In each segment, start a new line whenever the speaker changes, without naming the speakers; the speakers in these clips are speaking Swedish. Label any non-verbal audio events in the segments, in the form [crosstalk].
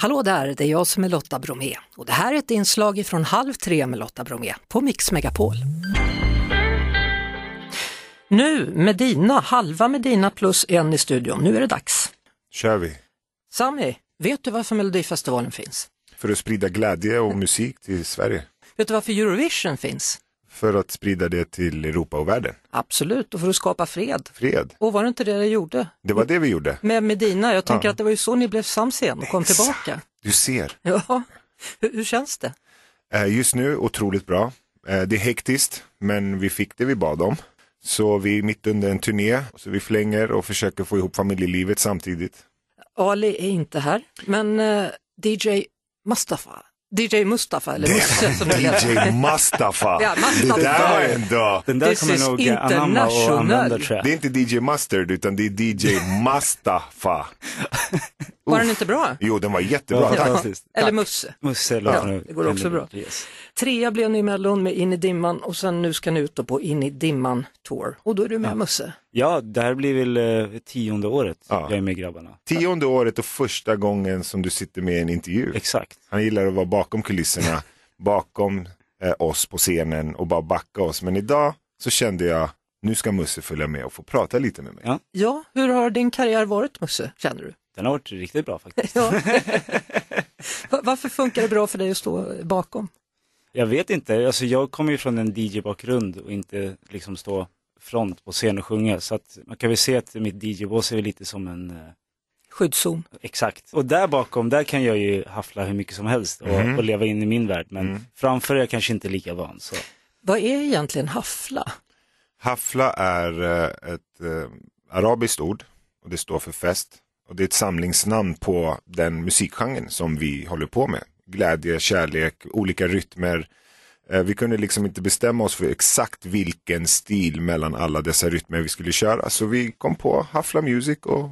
Hallå där, det är jag som är Lotta Bromé och det här är ett inslag från Halv tre med Lotta Bromé på Mix Megapol. Nu Medina, halva Medina plus en i studion. Nu är det dags.
kör vi.
Sami, vet du varför Melodifestivalen finns?
För att sprida glädje och musik till Sverige.
Vet du varför Eurovision finns?
För att sprida det till Europa och världen.
Absolut, och för att skapa fred.
Fred.
Och var det inte det du gjorde
Det var det vi gjorde.
med Medina? Jag tänker att det var ju så ni blev sams igen och kom
Exakt.
tillbaka.
Du ser.
Ja, hur, hur känns det?
Eh, Just nu otroligt bra. Eh, Det är hektiskt, men vi fick det vi bad om. Så vi är mitt under en turné, så vi flänger och försöker få ihop familjelivet samtidigt.
Ali är inte här, men eh, DJ Mustafa, DJ Mustafa eller Musse
[laughs]
som det heter.
DJ Mustafa!
Ja, Mustafa.
Det där var en dag!
Den där
This is
kommer nog anamma och
international.
använda tror jag.
Det är inte DJ Mustard utan det är DJ Mustafa.
Var den inte bra?
Jo, den var
Det var
jättebra. Tack.
fantastiskt.
Eller Musse.
Musse
Ja,
låter nu.
det går också bra.
Yes.
Trea blev ni i Mellon med In i dimman och sen nu ska ni ut då på In i dimman tour. Och då är du med Musse.
Ja, det här blir väl eh, tionde året
Ja.
jag är med grabbarna.
Tionde året och första gången som du sitter med i en intervju.
Exakt.
Han gillar att vara bakom kulisserna, bakom eh, oss på scenen och bara backa oss. Men idag så kände jag, nu ska Musse följa med och få prata lite med mig.
Ja.
Ja, hur har din karriär varit Musse, känner du?
Den har varit riktigt
[laughs]
bra faktiskt.
Ja. Va- Varför funkar det bra för dig att stå bakom?
Jag vet inte, alltså jag kommer ju från en DJ-bakgrund och inte liksom stå front på scen och sjunga. Så att man kan väl se att mitt DJ-bås är väl lite som en, eh,
Skyddszon.
exakt. Och där bakom, där kan jag ju haffla hur mycket som helst och,
Mhm. Mm.
och leva in i min värld. Men framför är jag kanske inte lika van. Så.
Vad är egentligen haffla?
Hafla är eh, ett eh, arabiskt ord och det står för fest. Och det är ett samlingsnamn på den musikgenren som vi håller på med. Glädje, kärlek, olika rytmer. Eh, vi kunde liksom inte bestämma oss för exakt vilken stil mellan alla dessa rytmer vi skulle köra. Så vi kom på Hafla Music och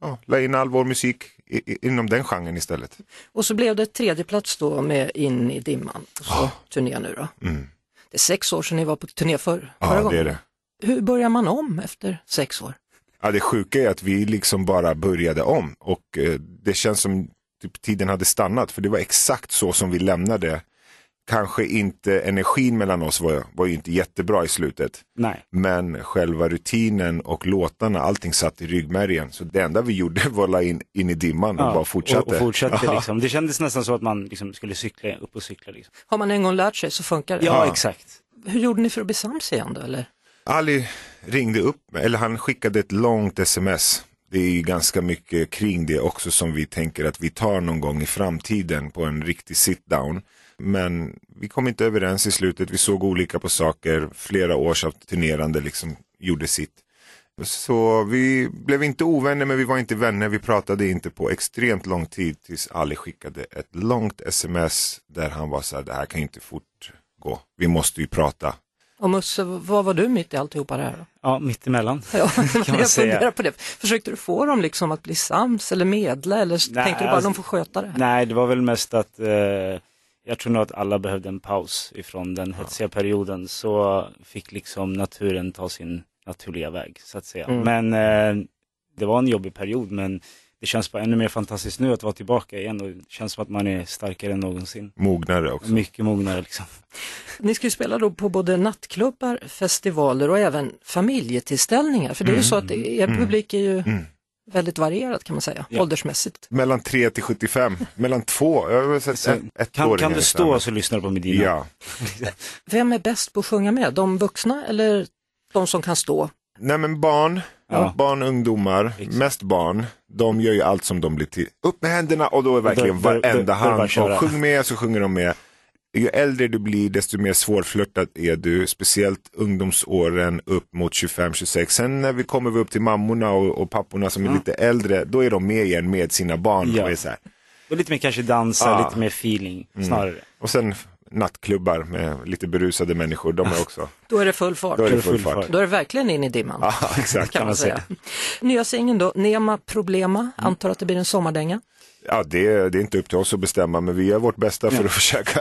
ja, la in all vår musik i, i, inom den genren istället.
Och så blev det tredje plats då med In i dimman, och så turné nu då.
Mm.
Det är sex år sedan ni var på turné förr, förra
Ja, det är
gången.
det.
Hur börjar man om efter sex år?
Ja, det sjuka är att vi liksom bara började om och eh, det känns som typ, tiden hade stannat för det var exakt så som vi lämnade. Kanske inte energin mellan oss var, var ju inte jättebra i slutet.
Nej,
Men själva rutinen och låtarna, allting satt i ryggmärgen. Så det enda vi gjorde [laughs] var att la in, in i dimman och
Ja,
bara fortsatte.
Och, och fortsatte
Ja.
liksom. Det kändes nästan så att man liksom skulle cykla, upp och cykla. Liksom.
Har man en gång lärt sig så funkar det.
Ja, exakt.
Hur gjorde ni för att bli sams igen då eller?
Ali ringde upp mig, eller han skickade ett långt sms. Det är ju ganska mycket kring det också som vi tänker att vi tar någon gång i framtiden på en riktig sit down. Men vi kom inte överens i slutet, vi såg olika på saker, flera års av turnerande liksom gjorde sitt. Så vi blev inte ovänner men vi var inte vänner, vi pratade inte på extremt lång tid tills Ali skickade ett långt sms där han var så här, det här kan ju inte fortgå, vi måste ju prata.
Och Musse, vad var du mitt i alltihopa det här då?
Ja, mittemellan.
Ja,
man
jag
säga.
funderar på det. Försökte du få dem liksom att bli sams eller medla eller
Nej,
tänkte du bara
alltså-
de får sköta det? här?
Nej, det var väl mest att eh, jag tror nog att alla behövde en paus ifrån den hetsiga perioden. Så fick liksom naturen ta sin naturliga väg, så att säga.
Mm.
Men eh, det var en jobbig period, men det känns bara ännu mer fantastiskt nu att vara tillbaka igen och det känns som att man är starkare än någonsin.
Mognare också.
Mycket mognare liksom.
Ni ska ju spela då på både nattklubbar, festivaler och även familjetillställningar. För det är ju så att
Mm.
er publik är ju väldigt varierad kan man säga,
Ja.
åldersmässigt.
Mellan 3 till 75, mellan 2, jag har sett ett, ett
Kan,
år
kan
innan
du
jag
stå så lyssnar du på
stannar.
Medina?
Ja.
Vem är bäst på att sjunga med? De vuxna eller de som kan stå?
Nej men barn,
Ja.
barn, ungdomar,
Exakt.
mest barn, de gör ju allt som de blir till. Upp med händerna och då är verkligen
då- då- då-
varenda
då är det bara
hand.
att köra.
Och sjung med så sjunger de med. Ju äldre du blir desto mer svårflörtad är du, speciellt ungdomsåren upp mot 25-26. Sen när vi kommer upp till mammorna och, och papporna som är lite äldre, då är de med igen med sina barn.
Ja.
Och, är så här.
Och lite mer kanske dansa,
Ah.
lite mer feeling snarare.
och sen nattklubbar med lite berusade människor, de
Alltså,
är också,
Då är det full fart.
då är
Kör
det full fart.
Då är det verkligen in i dimman. [laughs]
Ja, exakt.
kan man säga. Nya singeln då, Nema Problema,
Mm.
antar att det blir en sommardänga.
Ja, det, det är inte upp till oss att bestämma, men vi gör vårt bästa för att [laughs] försöka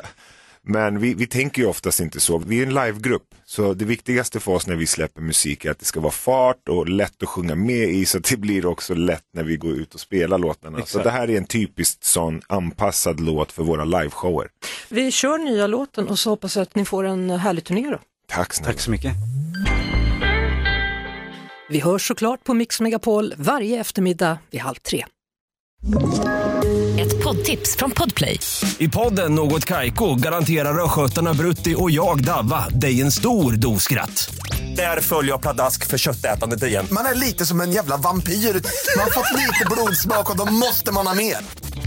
Men vi, vi tänker ju oftast inte så. Vi är en livegrupp. Så det viktigaste för oss när vi släpper musik är att det ska vara fart och lätt att sjunga med i. Så att det blir också lätt när vi går ut och spelar låtarna. Så
Exakt.
det här är en typiskt sån anpassad låt för våra liveshower.
Vi kör nya låten och så hoppas jag att ni får en härlig turné då.
Tack snälla.
Tack så mycket.
Vi hörs såklart på Mix Megapol varje eftermiddag vid halv tre.
Ett poddtips från Podplay.
I podden Något Kaiko garanterar östgötarna Brutti och jag, Davva, dig en stor dos skratt. Där följer jag pladask för köttätandet igen.
Man är lite som en jävla vampyr. Man har fått lite blodsmak och då måste man ha mer.